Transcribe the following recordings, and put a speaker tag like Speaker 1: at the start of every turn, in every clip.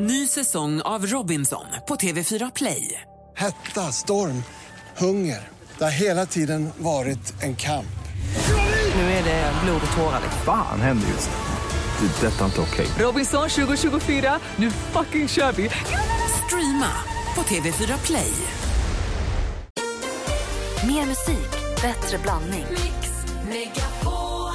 Speaker 1: Ny säsong av Robinson på TV4 Play.
Speaker 2: Hetta, storm, hunger. Det har hela tiden varit en kamp.
Speaker 1: Nu är det blod och tårar. liksom.
Speaker 3: Fan händer just nu. Det. är Detta är inte okej.
Speaker 1: Robinson 2024, nu fucking kör vi! Streama på TV4 Play.
Speaker 4: Mer musik, bättre blandning. Mix Megapol.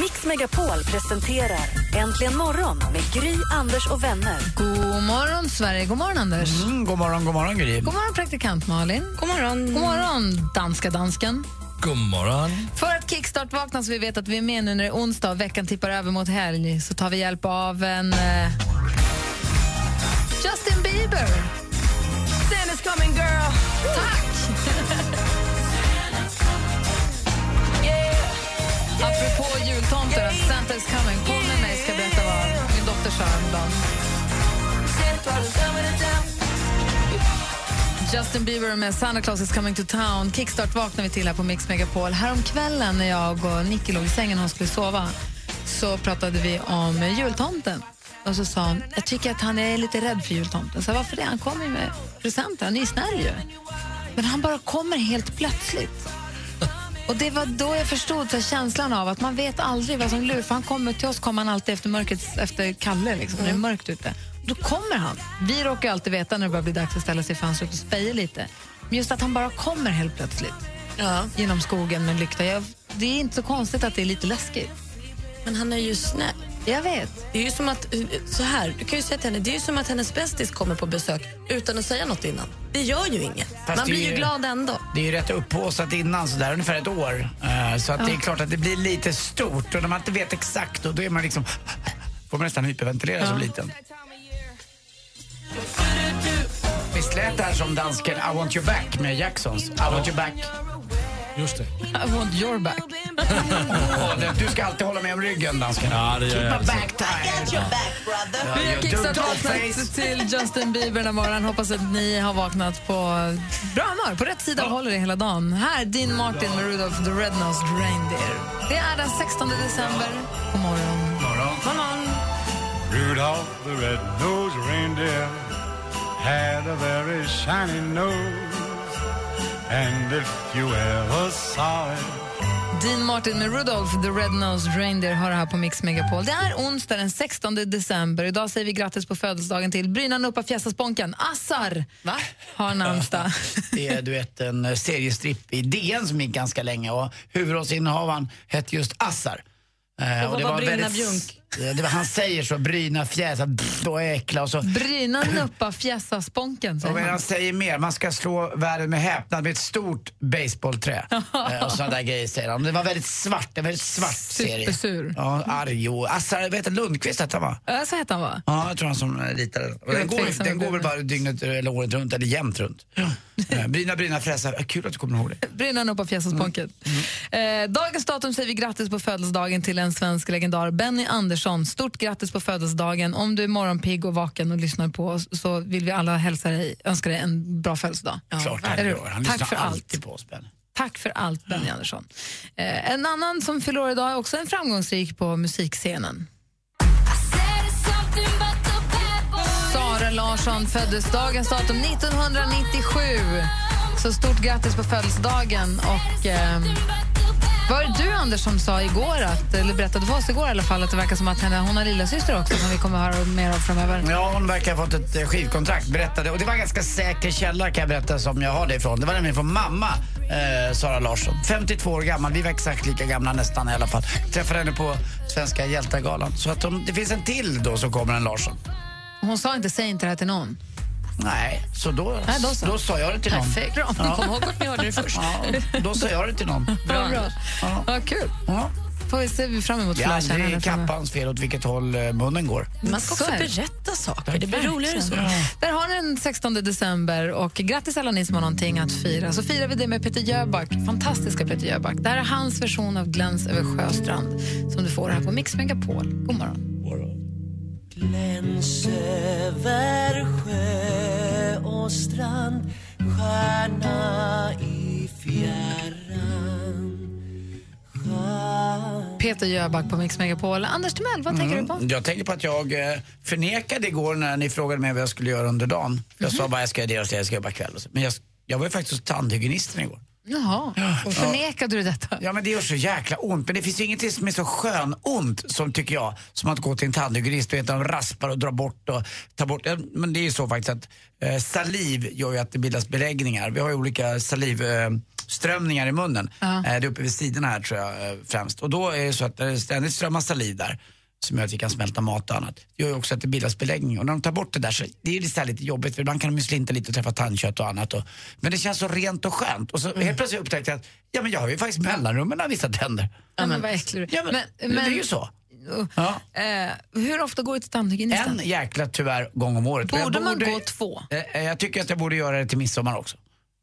Speaker 4: Mix Megapol presenterar Äntligen morgon med Gry, Anders och vänner.
Speaker 5: God morgon, Sverige. God morgon, Anders.
Speaker 6: Mm, god morgon, god morgon Gry.
Speaker 5: God morgon, praktikant Malin.
Speaker 7: God morgon.
Speaker 5: God morgon, danska dansken.
Speaker 6: God morgon.
Speaker 5: För att kickstart vaknas vi vet att vi är med nu när det är onsdag och veckan tippar över mot helg så tar vi hjälp av en... Eh, Justin Bieber!
Speaker 7: Santa's coming girl.
Speaker 5: Tack! Apropå jultomten, att Santa is coming. Paul med mig ska berätta vad min dotter sa häromdagen. Justin Bieber med Santa Claus is coming to town. Kickstart vaknar vi till här på Mix Megapol. Häromkvällen när jag och Nicky låg i sängen och hon skulle sova så pratade vi om jultomten. Och så sa hon, jag tycker att han är lite rädd för jultomten. Så varför det? Han kommer ju med presenter, han är ju snäll ju. Men han bara kommer helt plötsligt. Och det var då jag förstod så här, känslan av att man vet aldrig vad som lurar. För han kommer till oss kommer han alltid efter mörkret, efter Kalle, liksom, när
Speaker 7: Mm.
Speaker 5: det är mörkt ute. Då kommer han. Vi råkar ju alltid veta när det börjar bli dags att ställa sig i fönstret och speja lite. Men just att han bara kommer helt plötsligt
Speaker 7: Ja,
Speaker 5: genom skogen med lykta. Jag, det är inte så konstigt att det är lite läskigt.
Speaker 7: men han är ju snäll.
Speaker 5: Jag vet.
Speaker 7: Det är ju som att, eh, så här, du kan ju säga till henne, det är ju som att hennes bästis kommer på besök utan att säga något innan. Det gör ju inget. Man
Speaker 6: Fast det är
Speaker 7: blir ju
Speaker 6: ju-
Speaker 7: glad ändå.
Speaker 6: Det är ju rätt upphaussat innan, så där ungefär ett år. Eh, så att det är klart att det blir lite stort och när man inte vet exakt och då är man liksom... Får man nästan hyperventilera som liten. Visst lät det här som dansken I want you back med Jacksons? I want you back.
Speaker 8: Just det.
Speaker 5: I want your back.
Speaker 6: Åh, det- du ska alltid hålla med om ryggen, dansken.
Speaker 8: Ja, det gör jag.
Speaker 6: My back tight.
Speaker 5: Vi har
Speaker 6: Ja,
Speaker 5: kickstartat
Speaker 6: don't
Speaker 5: vaknat
Speaker 6: face.
Speaker 5: till Justin Bieber den här morgonen. Hoppas att ni har vaknat på bra humör, på rätt sida och håller det hela dagen. Här, Dean Martin med Rudolph the Red-Nosed Reindeer. Det är den 16 december. God morgon.
Speaker 6: Morgon.
Speaker 9: Rudolph the red-nosed reindeer had a very shiny nose. And if you ever saw it,
Speaker 5: Dean Martin med Rudolph the Red-Nosed Reindeer har det här på Mix Megapol. Det är onsdag den 16 december. Idag säger vi grattis på födelsedagen till Brynan Uppa Fjässasponken. Assar Va? har namnsdag.
Speaker 6: Det är du vet, en eh, seriestripp i DN som gick ganska länge och huvudrollsinnehavaren hette just Assar. Eh,
Speaker 7: Och vad var Bryna Bjunk?
Speaker 6: Ja, Det var, han säger så, Bryna fjäsar, pff, och äckla och så.
Speaker 5: Brynan Uppa Fjässasponken,
Speaker 6: Och
Speaker 5: säger
Speaker 6: men
Speaker 5: man.
Speaker 6: han säger mer, man ska slå världen med häpnad med ett stort baseballträ. Eh, och sådana där grejer säger han. Det var väldigt svart, en väldigt svart serie.
Speaker 5: Supersur.
Speaker 6: Ja, arg och Assar, vet du, Lundqvist hette han va?
Speaker 5: Ja, Så heter han, va?
Speaker 6: Ja, jag tror han som eh, ritade den. Och Den går,
Speaker 5: tveksam
Speaker 6: den
Speaker 5: till
Speaker 6: går väl
Speaker 5: den.
Speaker 6: bara dygnet eller året runt, eller jämnt runt. Eh, Bryna, Bryna, fräsa. Eh, Kul att du kommer ihåg det.
Speaker 5: Brinnan upp av fjässasponket. Eh, dagens datum säger vi grattis på födelsedagen till en svensk legendar, Benny Andersson. Stort grattis på födelsedagen. Om du är morgonpigg och vaken och lyssnar på oss så vill vi alla hälsa dig, önska dig en bra födelsedag.
Speaker 6: Klart han
Speaker 5: Eller
Speaker 6: gör.
Speaker 5: hur?
Speaker 6: Han
Speaker 5: Tack för
Speaker 6: lyssnar
Speaker 5: allt.
Speaker 6: alltid på Mm. oss, Ben.
Speaker 5: Tack för allt, Benny Andersson. Eh, en annan som förlorar idag är också en framgångsrik på musikscenen. Sara Larsson föddes dagens datum 1997. Så stort grattis på födelsedagen. Och, eh, var det du, Anders, som sa igår att, eller berättade för oss igår i alla fall att det verkar som att henne, hon har lillasyster också som vi kommer att höra mer av framöver?
Speaker 6: Ja, hon verkar ha fått ett eh, skivkontrakt, berättade. Och det var en ganska säker källa kan jag berätta som jag har det ifrån. Det var nämligen från mamma, eh, Sara Larsson. 52 år gammal, vi var exakt lika gamla nästan i alla fall. Träffade henne på Svenska Hjältargalan. Så att de, det finns en till då som kommer, en Larsson.
Speaker 5: Hon sa inte säg inte det här till någon.
Speaker 6: Nej, så då,
Speaker 5: Nej, då så.
Speaker 6: då sa jag det till någon.
Speaker 5: Perfekt. Bra.
Speaker 7: Kom ihåg att ni hörde det först.
Speaker 6: Ja, då sa jag det till någon.
Speaker 5: Bra. Bra.
Speaker 6: Ja.
Speaker 5: Ja, kul.
Speaker 6: Ja.
Speaker 5: Får vi se fram emot
Speaker 6: Det
Speaker 5: att
Speaker 6: är
Speaker 5: lära känna henne
Speaker 6: aldrig
Speaker 5: framöver.
Speaker 6: kappans fel åt vilket håll eh, munnen går.
Speaker 7: Man ska också
Speaker 5: Så är det.
Speaker 7: berätta saker. Det blir roligare så.
Speaker 5: Där har ni den 16 december och grattis alla ni som har någonting att fira. Så firar vi det med Peter Jöback, fantastiska Peter Jöback. Det här är hans version av Gläns över Sjöstrand som du får här på Mix Megapol. God morgon.
Speaker 10: Gläns över sjö och strand Stjärna i fjärran Stjärna
Speaker 5: Peter Jöback på Mix Megapol. Anders Timell, vad tänker du på?
Speaker 6: Jag tänker på att jag eh, förnekade igår när ni frågade mig vad jag skulle göra under dagen. Jag sa bara jag ska göra det och det, jag ska jobba kväll. och så. Men jag, jag var ju faktiskt hos tandhygienisten igår.
Speaker 5: Jaha, och förnekade du detta?
Speaker 6: Ja men det gör så jäkla ont. Men det finns ju ingenting som är så skönont som tycker jag, som att gå till en tandhygienist. Du vet de raspar och drar bort och tar bort. Ja, Men det är ju så faktiskt att eh, saliv gör ju att det bildas beläggningar. Vi har ju olika salivströmningar eh, strömningar i munnen. Eh, det är uppe vid sidorna här tror jag eh, främst. Och då är det så att det ständigt strömmar saliv där som gör att vi kan smälta mat och annat. Det gör ju också att det bildas beläggning. Och när de tar bort det där så det är det så här lite jobbigt för ibland kan de ju slinta lite och träffa tandkött och annat. Och, men det känns så rent och skönt. Och så
Speaker 5: Mm.
Speaker 6: helt plötsligt upptäckte jag att ja, men jag har ju faktiskt mellanrummen av vissa tänder.
Speaker 5: Ja, men vad äcklig du
Speaker 6: Ja, men, det är ju så.
Speaker 5: Uh,
Speaker 6: Ja.
Speaker 5: eh, hur ofta går du till tandhygienisten?
Speaker 6: En jäkla tyvärr gång om året. Och jag
Speaker 5: Borde man gå två?
Speaker 6: Eh, eh, Jag tycker att jag borde göra det till midsommar också.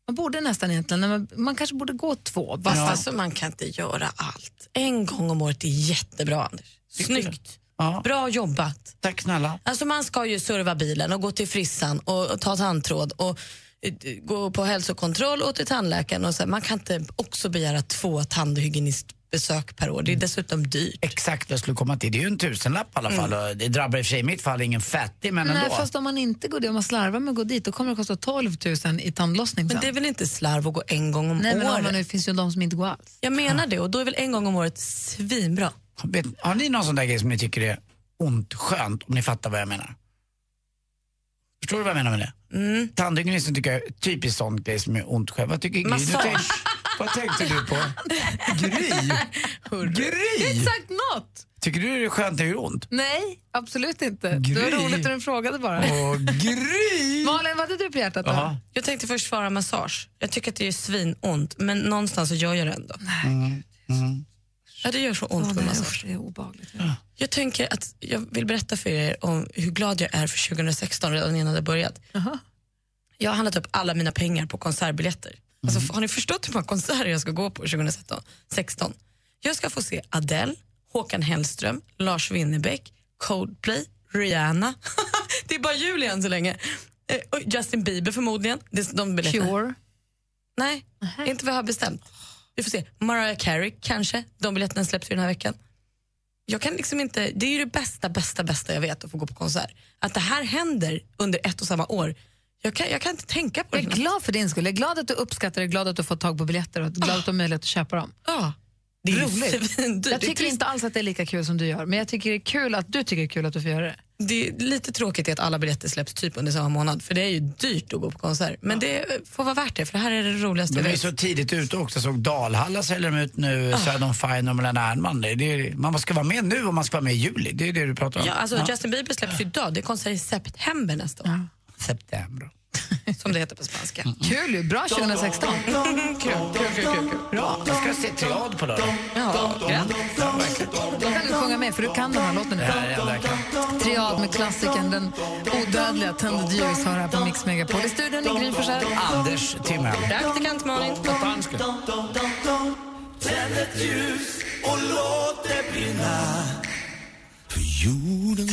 Speaker 5: Man borde nästan egentligen, men man, man kanske borde gå två. Bara
Speaker 7: Fast alltså, man kan inte göra allt. En gång om året är jättebra, Anders. Snyggt.
Speaker 6: Ja.
Speaker 7: Bra jobbat.
Speaker 6: Tack snälla.
Speaker 7: Alltså man ska ju serva bilen och gå till frissan och, och ta tandtråd och eh, gå på hälsokontroll och till tandläkaren. Och så. Man kan inte också begära två tandhygienistbesök per år. Det är dessutom dyrt.
Speaker 6: Exakt vad jag skulle komma till. Det är ju en tusenlapp i alla fall. Och Det drabbar i och för sig i mitt fall ingen fattig men
Speaker 5: Mm. Nej,
Speaker 6: ändå.
Speaker 5: fast om man inte går det, om man slarvar med att gå dit, då kommer det kosta 12 000 i tandlossning
Speaker 7: Men
Speaker 5: sen.
Speaker 7: det är väl inte slarv att gå en gång om
Speaker 5: Nej, men om
Speaker 7: året?
Speaker 5: man, det finns ju de som inte går alls.
Speaker 7: Jag menar det och då är väl en gång om året svinbra.
Speaker 6: Vet, har ni någon sån där grej som ni tycker är ont skönt om ni fattar vad jag menar? Förstår du vad jag menar med det? Mm. Tandhygienisten tycker jag är typiskt sån grej som är ont skönt. Vad tycker Gry? Du
Speaker 7: Massage.
Speaker 6: tänk, vad tänkte du på? Gry? Gry?
Speaker 5: Exakt något!
Speaker 6: Tycker du det är skönt när det gör ont?
Speaker 5: Nej, absolut inte. Det
Speaker 6: Gry.
Speaker 5: var roligt när du frågade bara.
Speaker 6: Åh, Gry!
Speaker 5: Malin, vad hade du på hjärtat då?
Speaker 6: Jaha.
Speaker 7: Jag tänkte först svara massage. Jag tycker att det är svinont, men någonstans så gör jag det ändå. Ja, det gör så ont
Speaker 5: Åh,
Speaker 7: med
Speaker 5: nej,
Speaker 7: massage.
Speaker 5: usch, det är obehagligt.
Speaker 7: Jag tänker att jag vill berätta för er om hur glad jag är för 2016 redan innan det börjat. Jag har handlat upp alla mina pengar på konsertbiljetter. Alltså, har ni förstått hur många konserter jag ska gå på 2016? 16. Jag ska få se Adele, Håkan Hellström, Lars Winnerbäck, Coldplay, Rihanna. det är bara jul igen så länge. Eh, och Justin Bieber förmodligen. Det är de biljetterna.
Speaker 5: Cure.
Speaker 7: Nej, inte vad jag har bestämt. Vi får se. Mariah Carey kanske. De biljetterna släpps ju den här veckan. Jag kan liksom inte, det är ju det bästa, bästa, bästa jag vet att få gå på konsert. Att det här händer under ett och samma år. Jag kan, jag kan inte tänka på
Speaker 5: Jag
Speaker 7: det.
Speaker 5: är glad för din skull. Jag är glad att du uppskattar det, glad att du fått tag på biljetter och glad att du har möjlighet att köpa dem.
Speaker 7: Ja, det är ju
Speaker 5: Roligt.
Speaker 7: svindyrt.
Speaker 5: Jag
Speaker 7: Det är
Speaker 5: tycker
Speaker 7: trist.
Speaker 5: inte alls att det är lika kul som du gör, men jag tycker det är kul att du tycker det är kul att du får göra det.
Speaker 7: Det är lite tråkigt att alla biljetter släpps typ under samma månad för det är ju dyrt att gå på konsert. Men det får vara värt det för det här är det roligaste
Speaker 6: De
Speaker 7: jag
Speaker 6: är ju
Speaker 7: vet. Ah.
Speaker 6: så tidigt ute också. Jag såg Dalhalla säljer de ut nu, Söder om Fine och Mellan Ernman. Det är, det är, man ska vara med nu om man ska vara med i juli. Det är det du pratar om.
Speaker 7: Ja, alltså Justin Bieber släpps ju idag. Det är konsert i september nästa år,
Speaker 6: September. Mm.
Speaker 7: som det heter på svenska.
Speaker 5: Kul ju, bra 2016.
Speaker 6: Bra. Jag ska se Triad på lördag.
Speaker 7: Ja, grattis.
Speaker 5: Då kan du sjunga med, för du kan den här låten
Speaker 6: Det
Speaker 5: nu.
Speaker 6: här är det enda jag kan.
Speaker 5: Triad med klassikern, den odödliga Tänded ljus har här på Mix Megapol. I studion i Gry Forssell.
Speaker 6: Anders Timell.
Speaker 7: Praktikant Malin.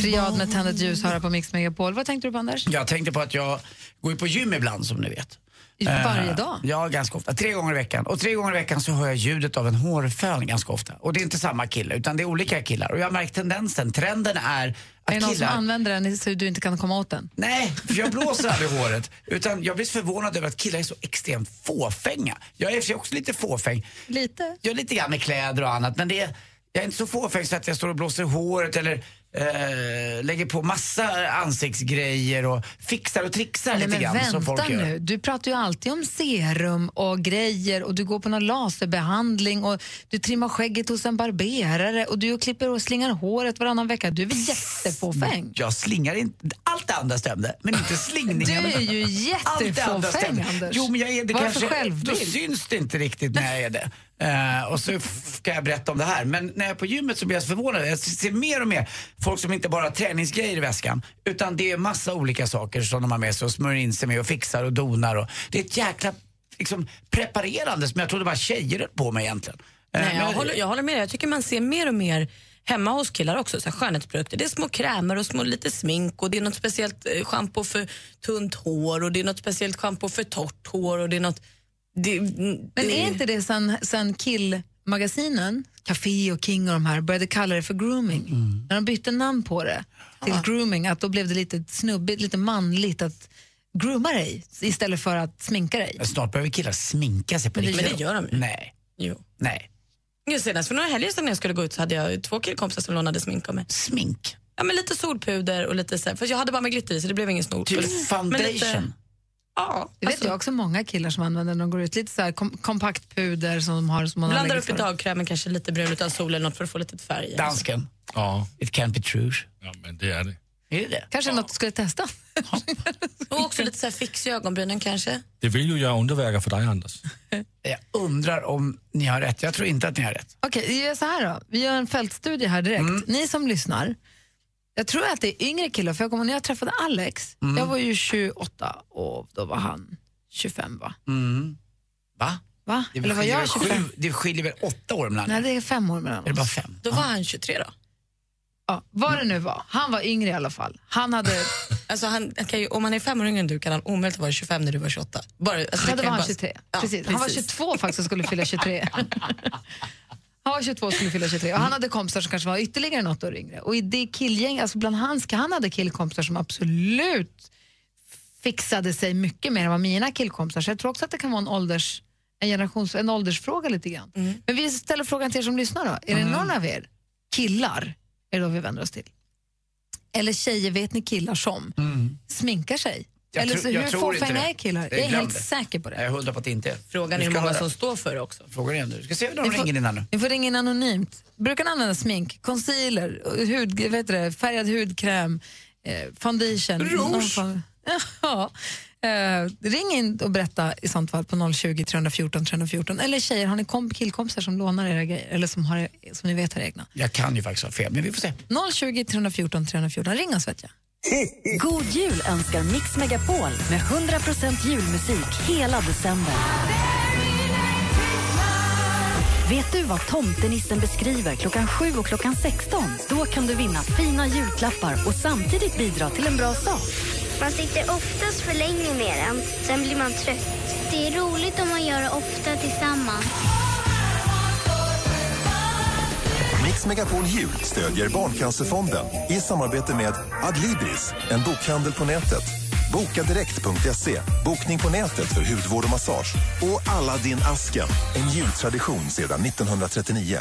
Speaker 5: Triad med Tänded ljus har här på Mix Megapol. Vad tänkte du på Anders?
Speaker 6: Jag tänkte på att jag går ju på gym ibland som ni vet.
Speaker 5: I- Varje
Speaker 6: Eh,
Speaker 5: dag?
Speaker 6: Ja, ganska ofta. Tre gånger i veckan. Och tre gånger i veckan så hör jag ljudet av en hårfön ganska ofta. Och det är inte samma kille, utan det är olika killar. Och jag har märkt tendensen. Trenden är att
Speaker 5: Är det någon som
Speaker 6: killar...
Speaker 5: använder den så du inte kan komma åt den?
Speaker 6: Nej, för jag blåser aldrig i håret. Utan jag blir så förvånad över att killar är så extremt fåfänga. Jag är i och för sig också lite fåfäng.
Speaker 5: Lite.
Speaker 6: Jag är lite grann med kläder och annat, men det är, jag är inte så fåfäng så att jag står och blåser i håret eller eh, lägger på massa ansiktsgrejer och fixar och trixar
Speaker 5: Nej,
Speaker 6: lite
Speaker 5: men
Speaker 6: grann som
Speaker 5: vänta
Speaker 6: folk
Speaker 5: nu,
Speaker 6: gör.
Speaker 5: du pratar ju alltid om serum och grejer och du går på någon laserbehandling och du trimmar skägget hos en barberare och du klipper och slingar håret varannan vecka. Du är väl jättefåfäng?
Speaker 6: Jag slingar inte, allt det andra stämde, men inte
Speaker 5: Du
Speaker 6: slingningarna.
Speaker 5: är ju jättefåfäng, Anders.
Speaker 6: Jo, men jag är det
Speaker 5: Vad är det
Speaker 6: kanske.
Speaker 5: för
Speaker 6: Då
Speaker 5: självbild?
Speaker 6: syns det inte riktigt när jag är det. Eh, och så f- ska jag berätta om det här. Men när jag är på gymmet så blir jag så förvånad. Jag ser mer och mer folk som inte bara har träningsgrejer i väskan. Utan det är massa olika saker som de har med sig och smörjer in sig med och fixar och donar. Och, det är ett jäkla liksom, preparerande som jag trodde bara tjejer höll på med egentligen. Eh,
Speaker 7: Nej, jag,
Speaker 6: men-
Speaker 7: håller, jag håller med. Jag tycker man ser mer och mer hemma hos killar också, så här skönhetsprodukter. Det är små krämer och små lite smink och det är något speciellt eh, schampo för tunt hår och det är något speciellt schampo för torrt hår och det är något... Det,
Speaker 5: Men är inte det sen, sen kill magasinen, Café och King och de här, började kalla det för grooming.
Speaker 6: Mm.
Speaker 5: När de bytte namn på det till grooming, att då blev det lite snubbigt, lite manligt att grooma dig istället för att sminka dig.
Speaker 6: Snart börjar vi killar sminka sig på
Speaker 7: Men det
Speaker 6: riktigt.
Speaker 7: gör de ju.
Speaker 6: Nej.
Speaker 7: Jo.
Speaker 6: Nej.
Speaker 7: Jo, senast för några helger sedan när jag skulle gå ut så hade jag två killkompisar som lånade smink av mig.
Speaker 6: Smink.
Speaker 7: Ja, men lite solpuder och lite så här, fast jag hade bara med glitter i så det blev ingen snor. Men
Speaker 6: Typ
Speaker 7: lite-
Speaker 6: foundation.
Speaker 7: Ja,
Speaker 5: Det vet jag också många killar som använder när de går ut. Lite så här kom- kompakt puder som de har som man
Speaker 7: Blandar
Speaker 5: anlägger
Speaker 7: upp i
Speaker 5: för.
Speaker 7: dagkrämen, kanske lite brun utan sol eller något för att få lite färg.
Speaker 6: Dansken.
Speaker 8: Ja,
Speaker 6: It can't be true.
Speaker 8: ja, men det är det.
Speaker 6: Är det det?
Speaker 5: Kanske något du skulle testa.
Speaker 7: Och också lite så här fix i ögonbrynen kanske.
Speaker 8: Det vill ju göra underverkar för dig, Anders.
Speaker 6: Jag undrar om ni har rätt. Jag tror inte att ni har rätt.
Speaker 5: Okej, vi gör så här då. Vi gör en fältstudie här direkt.
Speaker 6: Mm.
Speaker 5: Ni som lyssnar, jag tror att det är yngre killar, för jag kommer ihåg när jag träffade Alex,
Speaker 6: Mm.
Speaker 5: jag var ju 28 och då var han 25 va?
Speaker 6: Mm. Va?
Speaker 5: va?
Speaker 6: Det
Speaker 5: Eller var
Speaker 6: skiljer
Speaker 5: jag
Speaker 6: väl
Speaker 5: 25?
Speaker 6: sju- Det skiljer väl åtta år mellan
Speaker 5: Nej,
Speaker 6: er?
Speaker 5: det är fem år mellan
Speaker 6: Är det bara
Speaker 5: oss.
Speaker 6: fem?
Speaker 7: Då var han 23 då.
Speaker 5: Ja, vad det nu var, han var yngre i alla fall. Han hade,
Speaker 7: Alltså han, han kan ju, om han är fem år yngre än du kan han omöjligt vara 25 när du var 28. Bara, alltså, det
Speaker 5: ja,
Speaker 7: kan
Speaker 5: då
Speaker 7: ju
Speaker 5: var han
Speaker 7: bara-
Speaker 5: 23.
Speaker 7: Ja,
Speaker 5: precis. Han var 22 faktiskt och skulle fylla 23. Han var 22 och skulle fylla 23
Speaker 6: Mm.
Speaker 5: och han hade kompisar som kanske var ytterligare något år yngre. Och i det killgäng, alltså bland hans, han hade killkompisar som absolut fixade sig mycket mer än vad mina killkompisar. Så jag tror också att det kan vara en, ålders, en, generations, en åldersfråga lite grann.
Speaker 6: Mm.
Speaker 5: Men vi ställer frågan till er som lyssnar då. Är det någon av er killar, är det då vi vänder oss till? Eller tjejer, vet ni killar som sminkar sig?
Speaker 6: Mm. Jag
Speaker 5: Eller
Speaker 6: tror-
Speaker 5: så
Speaker 6: jag
Speaker 5: hur
Speaker 6: tror inte
Speaker 5: fåfänga
Speaker 6: det.
Speaker 5: är killar?
Speaker 6: Jag
Speaker 5: Jag är
Speaker 6: glömde.
Speaker 5: helt säker på det.
Speaker 6: Jag är hundra på att det inte är.
Speaker 7: Frågan
Speaker 6: Vi
Speaker 7: är hur
Speaker 6: ska
Speaker 7: många
Speaker 6: höra.
Speaker 7: som står för det också.
Speaker 6: Frågan är om du ska se hur de
Speaker 5: Ni får-
Speaker 6: ringer innan nu.
Speaker 5: Ni får ringa in anonymt. Brukar ni använda smink, concealer, hud, vad heter det, färgad hudkräm, eh, foundation?
Speaker 6: Rouge.
Speaker 5: någon form- Ja. Eh, ring in och berätta i sånt fall på 020 314 314. Eller tjejer, har ni kom- killkompisar som lånar era grejer eller som, har, som ni vet har egna?
Speaker 6: Jag kan ju faktiskt ha fel, men vi får se.
Speaker 5: 020 314 314. Ring oss vet jag.
Speaker 4: God jul önskar Mix Megapol med 100% julmusik hela december. Vet du vad tomtenissen beskriver klockan 7 och klockan 16? Då kan du vinna fina julklappar och samtidigt bidra till en bra sak.
Speaker 11: Man sitter oftast för länge med den, sen blir man trött. Det är roligt om man gör det ofta tillsammans.
Speaker 12: Mix Megapol Jul stödjer Barncancerfonden i samarbete med Adlibris, en bokhandel på nätet bokadirekt.se, bokning på nätet för hudvård och massage och Aladdin asken en jultradition sedan 1939.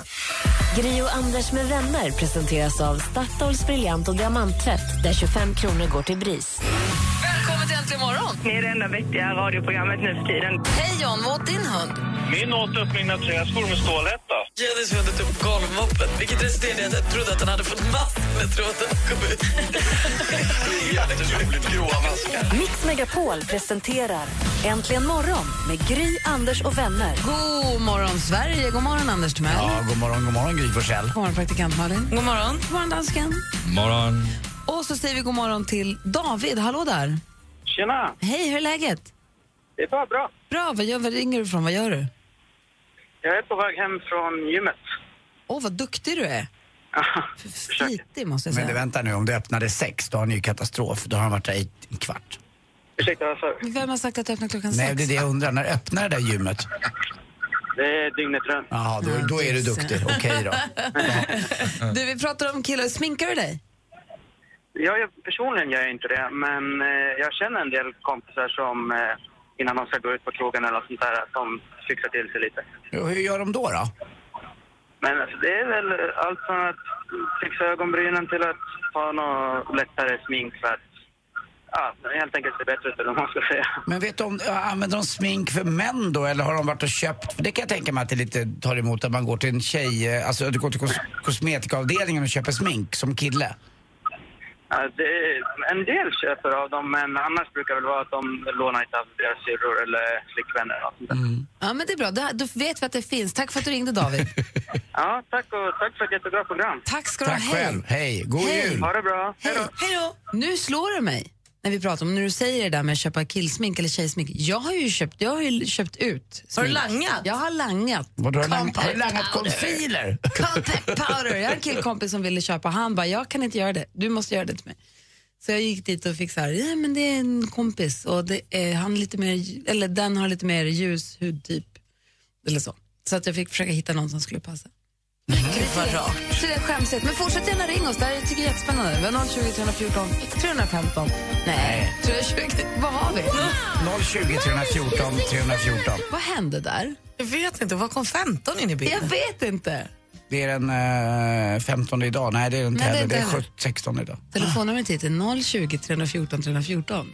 Speaker 4: Gri och Anders med vänner presenteras av Statoils briljant och diamanttvätt där 25 kronor går till BRIS.
Speaker 5: Välkommen till Äntligen morgon!
Speaker 10: Ni är det enda vettiga radioprogrammet nu för tiden.
Speaker 5: Hej John, vad åt din hund?
Speaker 9: Min åt upp mina träskor med stålhätta.
Speaker 10: Jenny svindlade upp golvmoppen, vilket resulterade i att jag trodde att han hade fått mask när tråden kom ut.
Speaker 4: Mix Megapol presenterar Äntligen morgon med Gry, Anders och vänner.
Speaker 5: God morgon Sverige, god morgon Anders Timell.
Speaker 6: Ja, god morgon, god morgon Gry Forssell.
Speaker 5: God morgon praktikant Malin.
Speaker 7: God morgon.
Speaker 5: God morgon dansken.
Speaker 8: Morgon.
Speaker 5: Och så säger vi god morgon till David. Hallå där.
Speaker 9: Tjena!
Speaker 5: Hej, hur är läget?
Speaker 9: Det är bara bra.
Speaker 5: Bra, vad gör, var ringer du från? Vad gör du?
Speaker 9: Jag är på väg hem från gymmet.
Speaker 5: Åh, vad duktig du är. Flitig, måste jag
Speaker 6: Men du,
Speaker 5: säga.
Speaker 6: vänta nu, om det öppnade sex, då har ni ju katastrof. Då har han varit där i en kvart.
Speaker 9: Ursäkta, vad sa du?
Speaker 5: Vem har sagt att det öppnar klockan
Speaker 6: Nej,
Speaker 5: sex?
Speaker 6: det är det jag undrar. När öppnar det där gymmet?
Speaker 9: Det är dygnet runt.
Speaker 6: Jaha, då, då är du duktig. Okej då.
Speaker 5: Du, vi pratar om killar. Sminkar du dig?
Speaker 9: Jag gör- personligen gör jag inte det, men eh, jag känner en del kompisar som eh, innan de ska gå ut på krogen eller något sånt där, att de fixar till sig lite.
Speaker 6: Och hur gör de då? då?
Speaker 9: Men alltså, det är väl allt från att fixa ögonbrynen till att ta något lättare smink för att ja, helt enkelt se bättre ut eller vad man ska säga.
Speaker 6: Men vet du om, använder de smink för män då eller har de varit och köpt? För det kan jag tänka mig att det lite tar emot att man går till en tjej, eh, alltså du går till kos, kosmetikaavdelningen och köper smink som kille.
Speaker 9: Ja, det är, en del köper av dem, men annars brukar det väl vara att de lånar lite av deras syrror eller flickvänner eller något sånt där.
Speaker 5: Ja, men det är bra. Du, då vet vi att det finns. Tack för att du ringde, David.
Speaker 9: Ja, tack, och, tack för ett jättebra program.
Speaker 5: Tack ska du ha.
Speaker 6: Tack
Speaker 5: Hej.
Speaker 6: själv, hej, god
Speaker 5: Hej.
Speaker 6: jul!
Speaker 9: Ha det bra. Hej då.
Speaker 5: Hej då. Nu slår det mig när vi pratar om när du säger det där med att köpa killsmink eller tjejsmink. Jag har ju köpt, jag har ju köpt ut.
Speaker 7: Har du
Speaker 5: smink.
Speaker 7: langat?
Speaker 5: Jag har langat.
Speaker 6: Vad har du lang-
Speaker 5: Compact
Speaker 6: har du langat concealer?
Speaker 5: Compact powder. Jag har en killkompis som ville köpa. Han bara, jag kan inte göra det. Du måste göra det till mig. Så jag gick dit och fick så här, ja men det är en kompis och det är, han är lite mer, eller den har lite mer ljus hudtyp. Eller så. Så att jag fick försöka hitta någon som skulle passa.
Speaker 7: Gud, vad rart.
Speaker 5: Så det är skämsigt. Men fortsätt gärna ring oss. Det här tycker jag är jättespännande. Vi har 020 314 315. Nej, 320. Vad har vi?
Speaker 6: 020 314 314.
Speaker 5: Vad hände där?
Speaker 7: Jag vet inte. Var kom 15 in i bilden?
Speaker 5: Jag vet inte.
Speaker 6: Det är den eh, 15 idag. Nej, det är den inte
Speaker 5: Nej, det är
Speaker 6: heller. Det är
Speaker 5: inte heller.
Speaker 6: 17 16 idag.
Speaker 5: Telefonnumret hit är 020 314 314.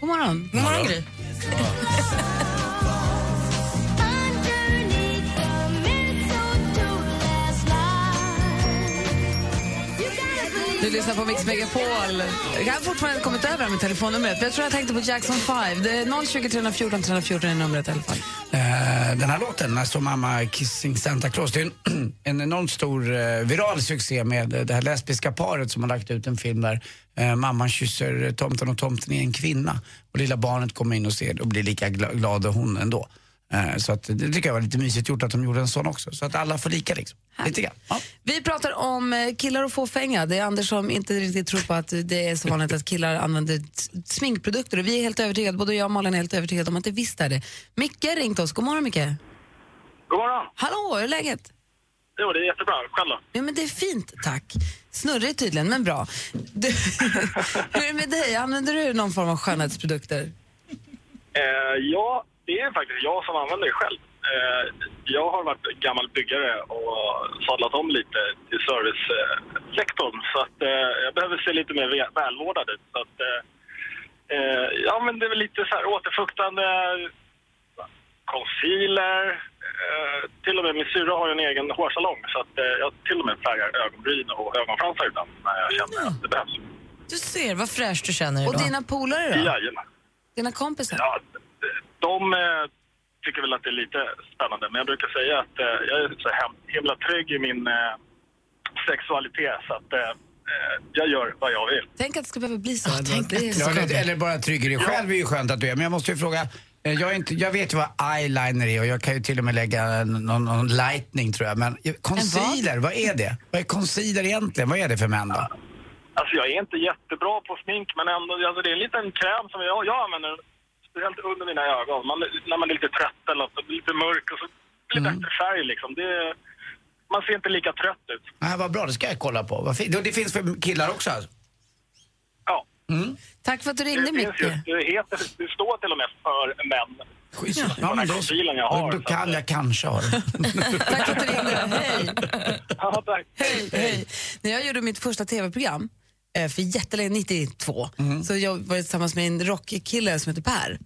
Speaker 5: God morgon.
Speaker 7: God morgon, Gry.
Speaker 5: Du lyssnar på Mix Megapol. Jag har fortfarande inte kommit över det här med telefonnumret. men Jag tror jag tänkte på Jackson 5. Det är 020 314 314 är numret i alla fall.
Speaker 6: Eh, den här låten, När står mamma kissing Santa Claus, det är en, en enormt stor eh, viral succé med eh, det här lesbiska paret som har lagt ut en film där eh, mamman kysser eh, tomten och tomten är en kvinna. Och lilla barnet kommer in och ser det och blir lika gla- glad och hon ändå. Eh, så att, det tycker jag var lite mysigt gjort att de gjorde en sån också. Så att alla får lika liksom. Lite grann. Ja.
Speaker 5: Vi pratar om eh, killar och fåfänga. Det är Anders som inte riktigt tror på att det är så vanligt att killar använder t- sminkprodukter. Och vi är helt övertygade, både jag och Malin är helt övertygade om att det visst är det. Micke har ringt oss. God morgon Micke.
Speaker 13: God morgon.
Speaker 5: Hallå, hur är läget?
Speaker 13: Jo, det är jättebra. Själv då?
Speaker 5: Ja, men det är fint, tack. Snurrigt tydligen, men bra. Du, hur är det med dig? Använder du någon form av skönhetsprodukter?
Speaker 13: Eh, ja, det är faktiskt jag som använder det själv. Eh, jag har varit gammal byggare och sadlat om lite till servicesektorn. Så att, eh, jag behöver se lite mer vä- välvårdad ut. Så att, eh, eh, jag använder väl lite så här återfuktande concealer. Eh, till och med min syrra har ju en egen hårsalong så att, eh, jag till och med färgar ögonbryn och ögonfransar ibland när jag känner att det behövs.
Speaker 7: Du ser vad fräscht du känner
Speaker 5: Och
Speaker 7: idag.
Speaker 5: dina polare då?
Speaker 13: Jajamän.
Speaker 5: Dina kompisar?
Speaker 13: Ja, de eh, tycker väl att det är lite spännande, men jag brukar säga att eh, jag är så hem, himla trygg i min eh, sexualitet så att eh, eh, jag gör vad jag vill.
Speaker 5: Tänk att det ska behöva bli så. ändå. det är
Speaker 6: Ja,
Speaker 5: så
Speaker 6: eller, eller bara trygg i dig själv är ju skönt att du är. Men jag måste ju fråga, eh, jag, är inte, jag vet ju vad eyeliner är och jag kan ju till och med lägga en- någon, någon lightning tror jag. Men eh, concealer, vad är det? Vad är concealer egentligen? Vad är det för män då?
Speaker 13: Alltså jag är inte jättebra på smink, men ändå, alltså, det är en liten kräm som jag, jag använder speciellt under mina ögon. Man, när man är lite trött eller något, lite mörk och så blir
Speaker 4: Mm.
Speaker 13: det bättre färg liksom. Det, är- man ser inte lika trött ut.
Speaker 6: Ah, vad bra, det ska jag kolla på. Vad fint. Och Det finns för killar också alltså?
Speaker 13: Ja.
Speaker 6: Mm.
Speaker 5: Tack för att du ringde,
Speaker 13: finns ju,
Speaker 5: Micke.
Speaker 13: det, heter, det står till och med för män.
Speaker 6: Schysst. Ja,
Speaker 13: Den
Speaker 6: men
Speaker 13: här
Speaker 6: då,
Speaker 13: profilen jag har.
Speaker 6: då
Speaker 13: så att-
Speaker 6: kan jag kanske ha det.
Speaker 13: Ja, tack.
Speaker 5: Hej, hej. När jag gjorde mitt första tv-program eh, för jättelänge, 92, så jag var tillsammans med en rockkille som heter Per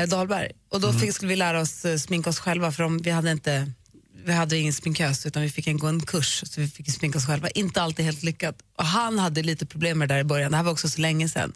Speaker 5: eh, Dahlberg. Och då fick, skulle vi lära oss eh, sminka oss själva för om vi hade inte vi hade ingen sminkös utan vi fick en, gå en kurs så vi fick sminka oss själva. Inte alltid helt lyckat. Och han hade lite problem med det där i början, det här var också så länge sedan.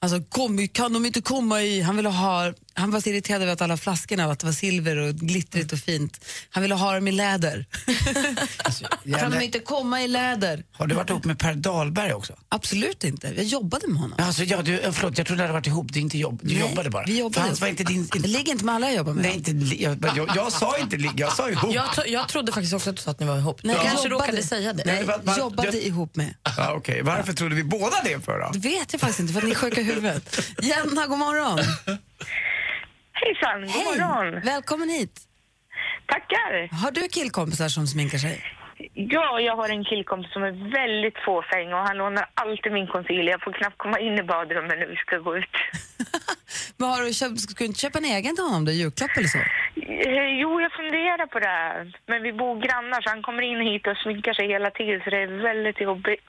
Speaker 5: Han sa, kom, kan de inte komma i... Han, ville ha, han var så irriterad över att alla flaskorna att det var silver och glittrigt och fint. Han ville ha dem i läder. Kan de
Speaker 6: Jävla-
Speaker 5: inte komma i läder?
Speaker 6: Har du varit ihop med Per Dahlberg också?
Speaker 5: Absolut inte. Jag jobbade med honom.
Speaker 6: Alltså, ja, du, eh, förlåt, jag trodde du hade varit ihop. Det är inte jobb. Du
Speaker 5: Nej,
Speaker 6: jobbade bara.
Speaker 5: vi jobbade
Speaker 6: För han
Speaker 5: ihop.
Speaker 6: var inte din...
Speaker 5: Det ligger inte med alla jag jobbar med.
Speaker 6: Nej, inte, li- jag, jag, jag, sa inte ligga, jag sa ihop.
Speaker 7: Jag, tro, jag trodde faktiskt också att du sa att ni var ihop.
Speaker 5: Nej,
Speaker 7: Nej, du kanske
Speaker 5: jobbade.
Speaker 7: råkade säga det.
Speaker 5: Nej,
Speaker 6: va- va-
Speaker 5: jobbade
Speaker 6: jag-
Speaker 5: ihop med.
Speaker 6: Ja, okej. Varför trodde vi båda det för då?
Speaker 5: Det vet jag faktiskt inte, för att ni är sjuka i huvudet. Jenna, god morgon.
Speaker 14: Hejsan, god morgon.
Speaker 5: Välkommen hit.
Speaker 14: Tackar.
Speaker 5: Har du killkompisar som sminkar sig?
Speaker 14: Ja, jag har en killkompis som är väldigt fåfäng och han lånar alltid min concealer. Jag får knappt komma in i badrummet när vi ska gå ut.
Speaker 5: Men har du köpt, ska du inte köpa en egen till honom, då, julklapp eller så?
Speaker 14: Eh, Jo, jag funderar på det här. Men vi bor grannar så han kommer in hit och sminkar sig hela tiden så det är väldigt jobbigt.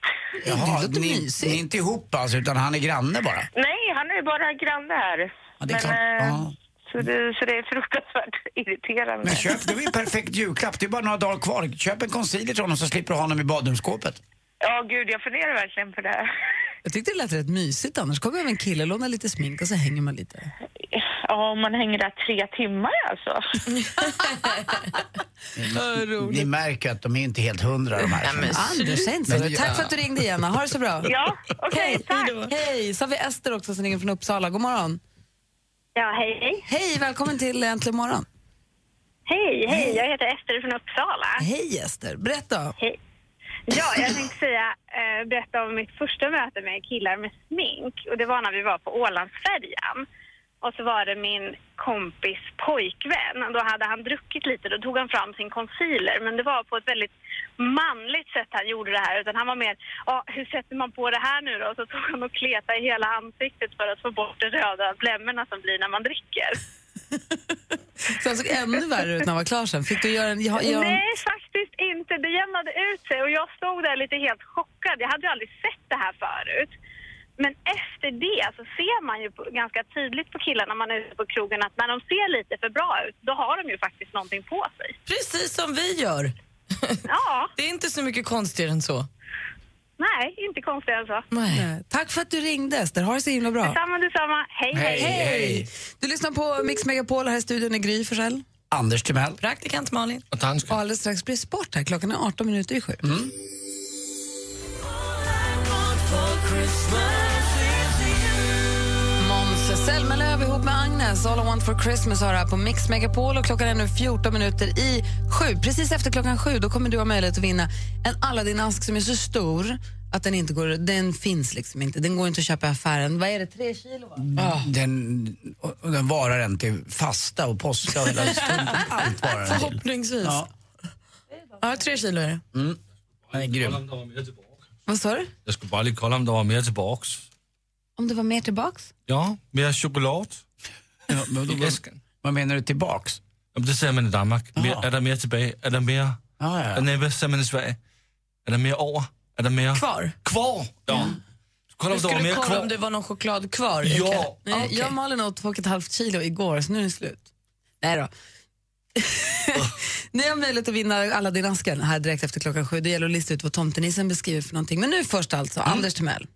Speaker 6: Jaha, ni, ni är inte ihop alltså, utan han är granne bara?
Speaker 14: Nej, han är bara granne här.
Speaker 6: Ja, det är klart.
Speaker 14: Men, eh,
Speaker 6: Ja.
Speaker 14: så, det, så det är fruktansvärt irriterande.
Speaker 6: Men köp, det är ju en perfekt julklapp. Det är bara några dagar kvar. Köp en concealer till honom så slipper du ha honom i badrumsskåpet.
Speaker 14: Ja, gud, jag funderar verkligen på det här.
Speaker 5: Jag tyckte det lät rätt mysigt annars. Kommer jag med en kille, lånar lite smink och så hänger man lite.
Speaker 14: Ja, man hänger där tre timmar alltså.
Speaker 6: Ni märker att de är inte helt hundra de här.
Speaker 5: Anders, säg inte så. Tack för att du ringde, Jenna. Ha det så bra.
Speaker 14: Ja,
Speaker 5: okej. tack. Hej, så har vi Ester också som ringer från Uppsala. God morgon.
Speaker 15: Ja, hej, hej.
Speaker 5: Hej, välkommen till Äntligen morgon.
Speaker 15: Hej, hej. Jag heter Ester från Uppsala.
Speaker 5: Hej Ester, berätta.
Speaker 15: Hej. Ja, jag tänkte säga, eh, berätta om mitt första möte med killar med smink. Och Det var när vi var på Ålandsfärjan.
Speaker 6: Och så var det min kompis pojkvän. Då hade han druckit lite. Då tog han fram sin concealer. Men det var på ett väldigt manligt sätt han gjorde det här. Utan han var mer, ja, hur sätter man på det här nu då? Och så tog han och kleta i hela ansiktet för att få bort de röda blämmorna som blir när man dricker.
Speaker 5: Så han såg alltså ännu värre ut när han var klar sen. Fick du göra en... Jag, jag,
Speaker 6: Nej, faktiskt inte. Det jämnade ut sig och jag stod där lite helt chockad. Jag hade ju aldrig sett det här förut. Men efter det så ser man ju på, ganska tydligt på killar när man är ute på krogen att när de ser lite för bra ut, då har de ju faktiskt någonting på sig.
Speaker 16: Precis som vi gör.
Speaker 6: Ja.
Speaker 16: Det är inte så mycket konstigare än så.
Speaker 6: Nej, inte konstigt alltså. än så.
Speaker 5: Nej. Tack för att du ringde, Ester. Ha det så himla bra.
Speaker 6: Detsamma, detsamma. Hej, hej.
Speaker 5: Du lyssnar på Mix Megapol. Här i studion är Gry Forssell.
Speaker 4: Anders Timell.
Speaker 5: Praktikant Malin.
Speaker 4: Och dansken.
Speaker 5: Och alldeles strax blir det sport här. Klockan är 18 minuter i sju. Måns Zelmerlöw ihop med Agnes, All I want for Christmas har det här på Mix Megapol och klockan är nu 14 minuter i sju. Precis efter klockan sju då kommer du ha möjlighet att vinna en Aladdin-ask som är så stor att den inte går, den finns liksom inte. Den går inte att köpa i affären. Vad är det, tre kilo? va?
Speaker 4: Den, och- och den varar en till fasta och påska och hela stunden. Allt varar den till.
Speaker 16: Förhoppningsvis.
Speaker 4: Ja.
Speaker 16: Ja. tre kilo är det.
Speaker 4: Mm. Den är grym.
Speaker 5: Vad sa du?
Speaker 8: Jag skulle bara lige kolla om der var mere tillbaks.
Speaker 5: Om det var mer tillbaks?
Speaker 8: Ja, mere choklad
Speaker 4: ja, i
Speaker 8: æsken.
Speaker 4: Hvad mener du tillbaks?
Speaker 8: Jamen, det ser man i Danmark. Mere, er der mere tilbage? Er der mere...
Speaker 4: Ja, ja.
Speaker 8: Nej, hvad ser man i Sverige? Er der mere over? Er der mere...
Speaker 16: Kvar?
Speaker 8: Kvar! Ja.
Speaker 16: Nu
Speaker 8: Kolla om der
Speaker 16: ska
Speaker 8: var
Speaker 16: du
Speaker 8: mere
Speaker 16: kolla om
Speaker 8: kvar.
Speaker 16: det var någon choklad kvar.
Speaker 8: Ja. ah,
Speaker 16: Okej.
Speaker 5: Nej,
Speaker 16: Okej.
Speaker 5: Jag och Malin åt två och ett halvt kilo igår, så nu är det slut. Nej då.
Speaker 8: Ah.
Speaker 5: Ni har möjlighet att vinna alla din asken här direkt efter klockan sju. Det gäller att lista ut vad tomtenissen beskriver för någonting. Men nu först alltså,
Speaker 8: Mm.
Speaker 5: Anders Timell.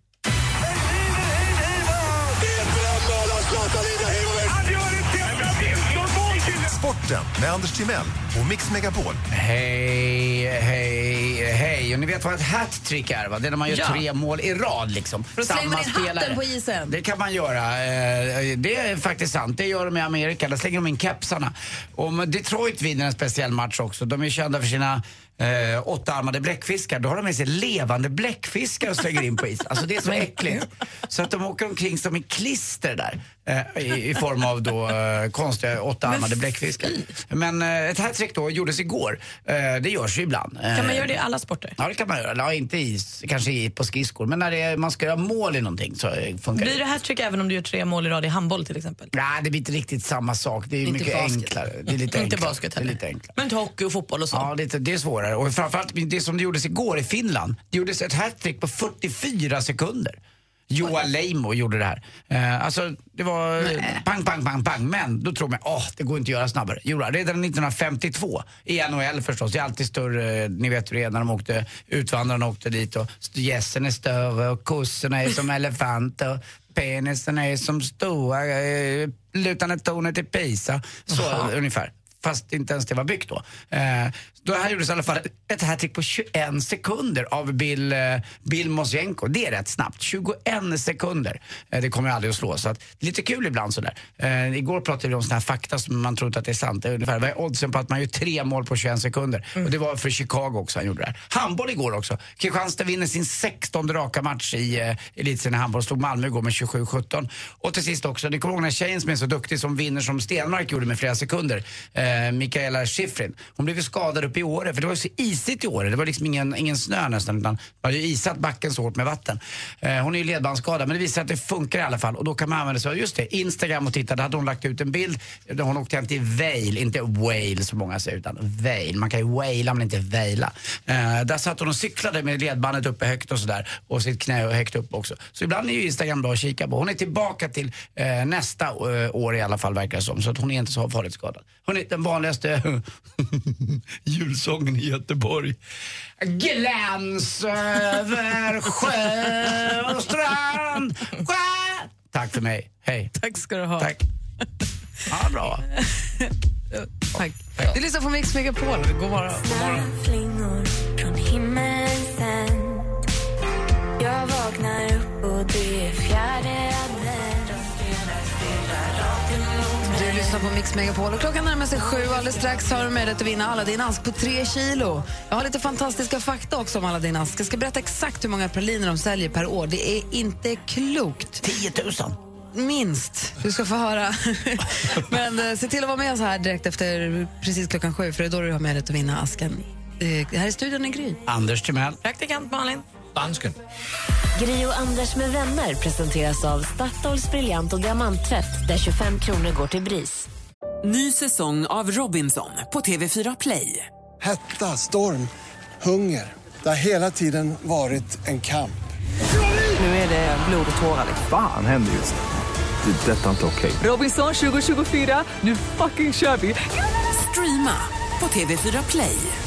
Speaker 13: Sporten med Anders Timell och Mix Megapol.
Speaker 4: Hej, hej, hej. Och ni vet vad ett hattrick är va? Det är när man gör
Speaker 13: Ja.
Speaker 4: tre mål i rad liksom.
Speaker 5: För att slänga in hatten på isen.
Speaker 4: Det kan man göra. Eh, Det är faktiskt sant. Det gör de i Amerika. Där slänger de in kepsarna. Och men Detroit vinner en speciell match också. De är kända för sina eh, åttaarmade bläckfiskar. Då har de med sig levande bläckfiskar och slänger in på is. Alltså det är så äckligt. Så att de åker omkring som i klister där. eh, I, i form av då eh, konstiga åttaarmade bläckfiskar. Men eh, ett hattrick då gjordes igår. Eh, det görs ju ibland. Eh,
Speaker 16: Kan man göra det i alla sporter?
Speaker 4: Ja, det kan man göra. Ja, inte i, kanske i, på skridskor, men när det är, man ska göra mål i någonting så eh, funkar
Speaker 16: Blir det hattrick även om du gör tre mål i rad i handboll till exempel?
Speaker 4: Nej, det blir inte riktigt samma sak. Det är ju
Speaker 16: Inte
Speaker 4: mycket
Speaker 16: basket.
Speaker 4: enklare. Det är lite
Speaker 16: Inte
Speaker 4: enklare.
Speaker 16: basket
Speaker 4: det är
Speaker 16: heller.
Speaker 4: lite enklare.
Speaker 16: Men inte hockey och fotboll och så?
Speaker 4: Ja, det, det är svårare. Och framförallt det som det gjordes igår i Finland. Det gjordes ett hattrick på 44 sekunder. Joa Leimo gjorde det här. Eh, alltså, det var eh, pang, pang, pang, pang. Men då tror man, åh, det går inte att göra snabbare. Jo, redan 1952 i NHL förstås. Det är alltid större, eh, ni vet hur det är när de åkte, utvandrarna åkte dit och st- gässen är större och kossorna är som elefanter. Penisen är som stora, eh, lutande tornet i Pisa. Så
Speaker 17: Jaha.
Speaker 4: ungefär. Fast inte ens det var byggt då. Eh, då här gjordes i alla fall ett hattrick på 21 sekunder av Bill, eh, Bill Mosjenko. Det är rätt snabbt. 21 sekunder. Eh, det kommer jag aldrig att slå. Så att, det är lite kul ibland sådär. Eh, igår pratade vi om sådana här fakta som man tror inte att det är sant. Det är Ungefär, vad är oddsen på att man gör tre mål på 21 sekunder? Och det var för Chicago också han gjorde det här. Handboll igår också. Kristianstad vinner sin 16 raka match i eh, elitserien i handboll. Slog Malmö igår med 27-17. Och till sist också, ni kommer ihåg den här tjejen som är så duktig som vinner som Stenmark gjorde med flera sekunder. Eh, Mikaela Shiffrin. Hon blev ju skadad uppe i Åre för det var ju så isigt i Åre. Det var liksom ingen, ingen snö nästan utan man hade ju isat backen så hårt med vatten. Eh, hon är ju ledbandsskadad men det visar att det funkar i alla fall och då kan man använda sig av just det, Instagram och titta. Där hade hon lagt ut en bild där hon åkte hem till Vail, inte Wale som många säger utan Vail. Man kan ju waila men inte vaila. Eh, där satt hon och cyklade med ledbandet uppe högt och sådär och sitt knä högt upp också. Så ibland är ju Instagram bra att kika på. Hon är tillbaka till eh, nästa eh, år i alla fall verkar det som så att hon är inte så farligt skadad. Hon är den vanligaste julsången i Göteborg. Gläns över sjö och strand. Sjö. Tack för mig. Hej.
Speaker 5: Tack ska du ha.
Speaker 4: Tack. Ja, bra.
Speaker 5: Tack. Du lyssnar på Mix Megapol. God morgon. God morgon.
Speaker 18: Flingor från himmelens sänd. Jag vaknar upp och det är fjärde advent.
Speaker 5: Du lyssnar på Mix Megapol och klockan närmar sig sju. Alldeles strax har du möjlighet att vinna alla din ask på tre kilo. Jag har lite fantastiska fakta också om alla din ask. Jag ska berätta exakt hur många praliner de säljer per år. Det är inte klokt.
Speaker 4: 10 000.
Speaker 5: minst. Du ska få höra. Men eh, se till att vara med oss här direkt efter precis klockan sju för det är då du har möjlighet att vinna asken. Eh, här i studion är Gry.
Speaker 6: Anders Timell.
Speaker 7: Praktikant Malin.
Speaker 8: Dansken.
Speaker 4: Gri och Anders med vänner presenteras av Statoils briljant och diamanttvätt där 25 kronor går till BRIS.
Speaker 1: Ny säsong av Robinson på TV4 Play.
Speaker 2: Hetta, storm, hunger. Det har hela tiden varit en kamp.
Speaker 1: Nu är det blod och tårar. liksom.
Speaker 3: Fan händer just det. Det är detta inte okej.
Speaker 1: Robinson 2024, nu fucking kör vi! Streama på TV4 Play.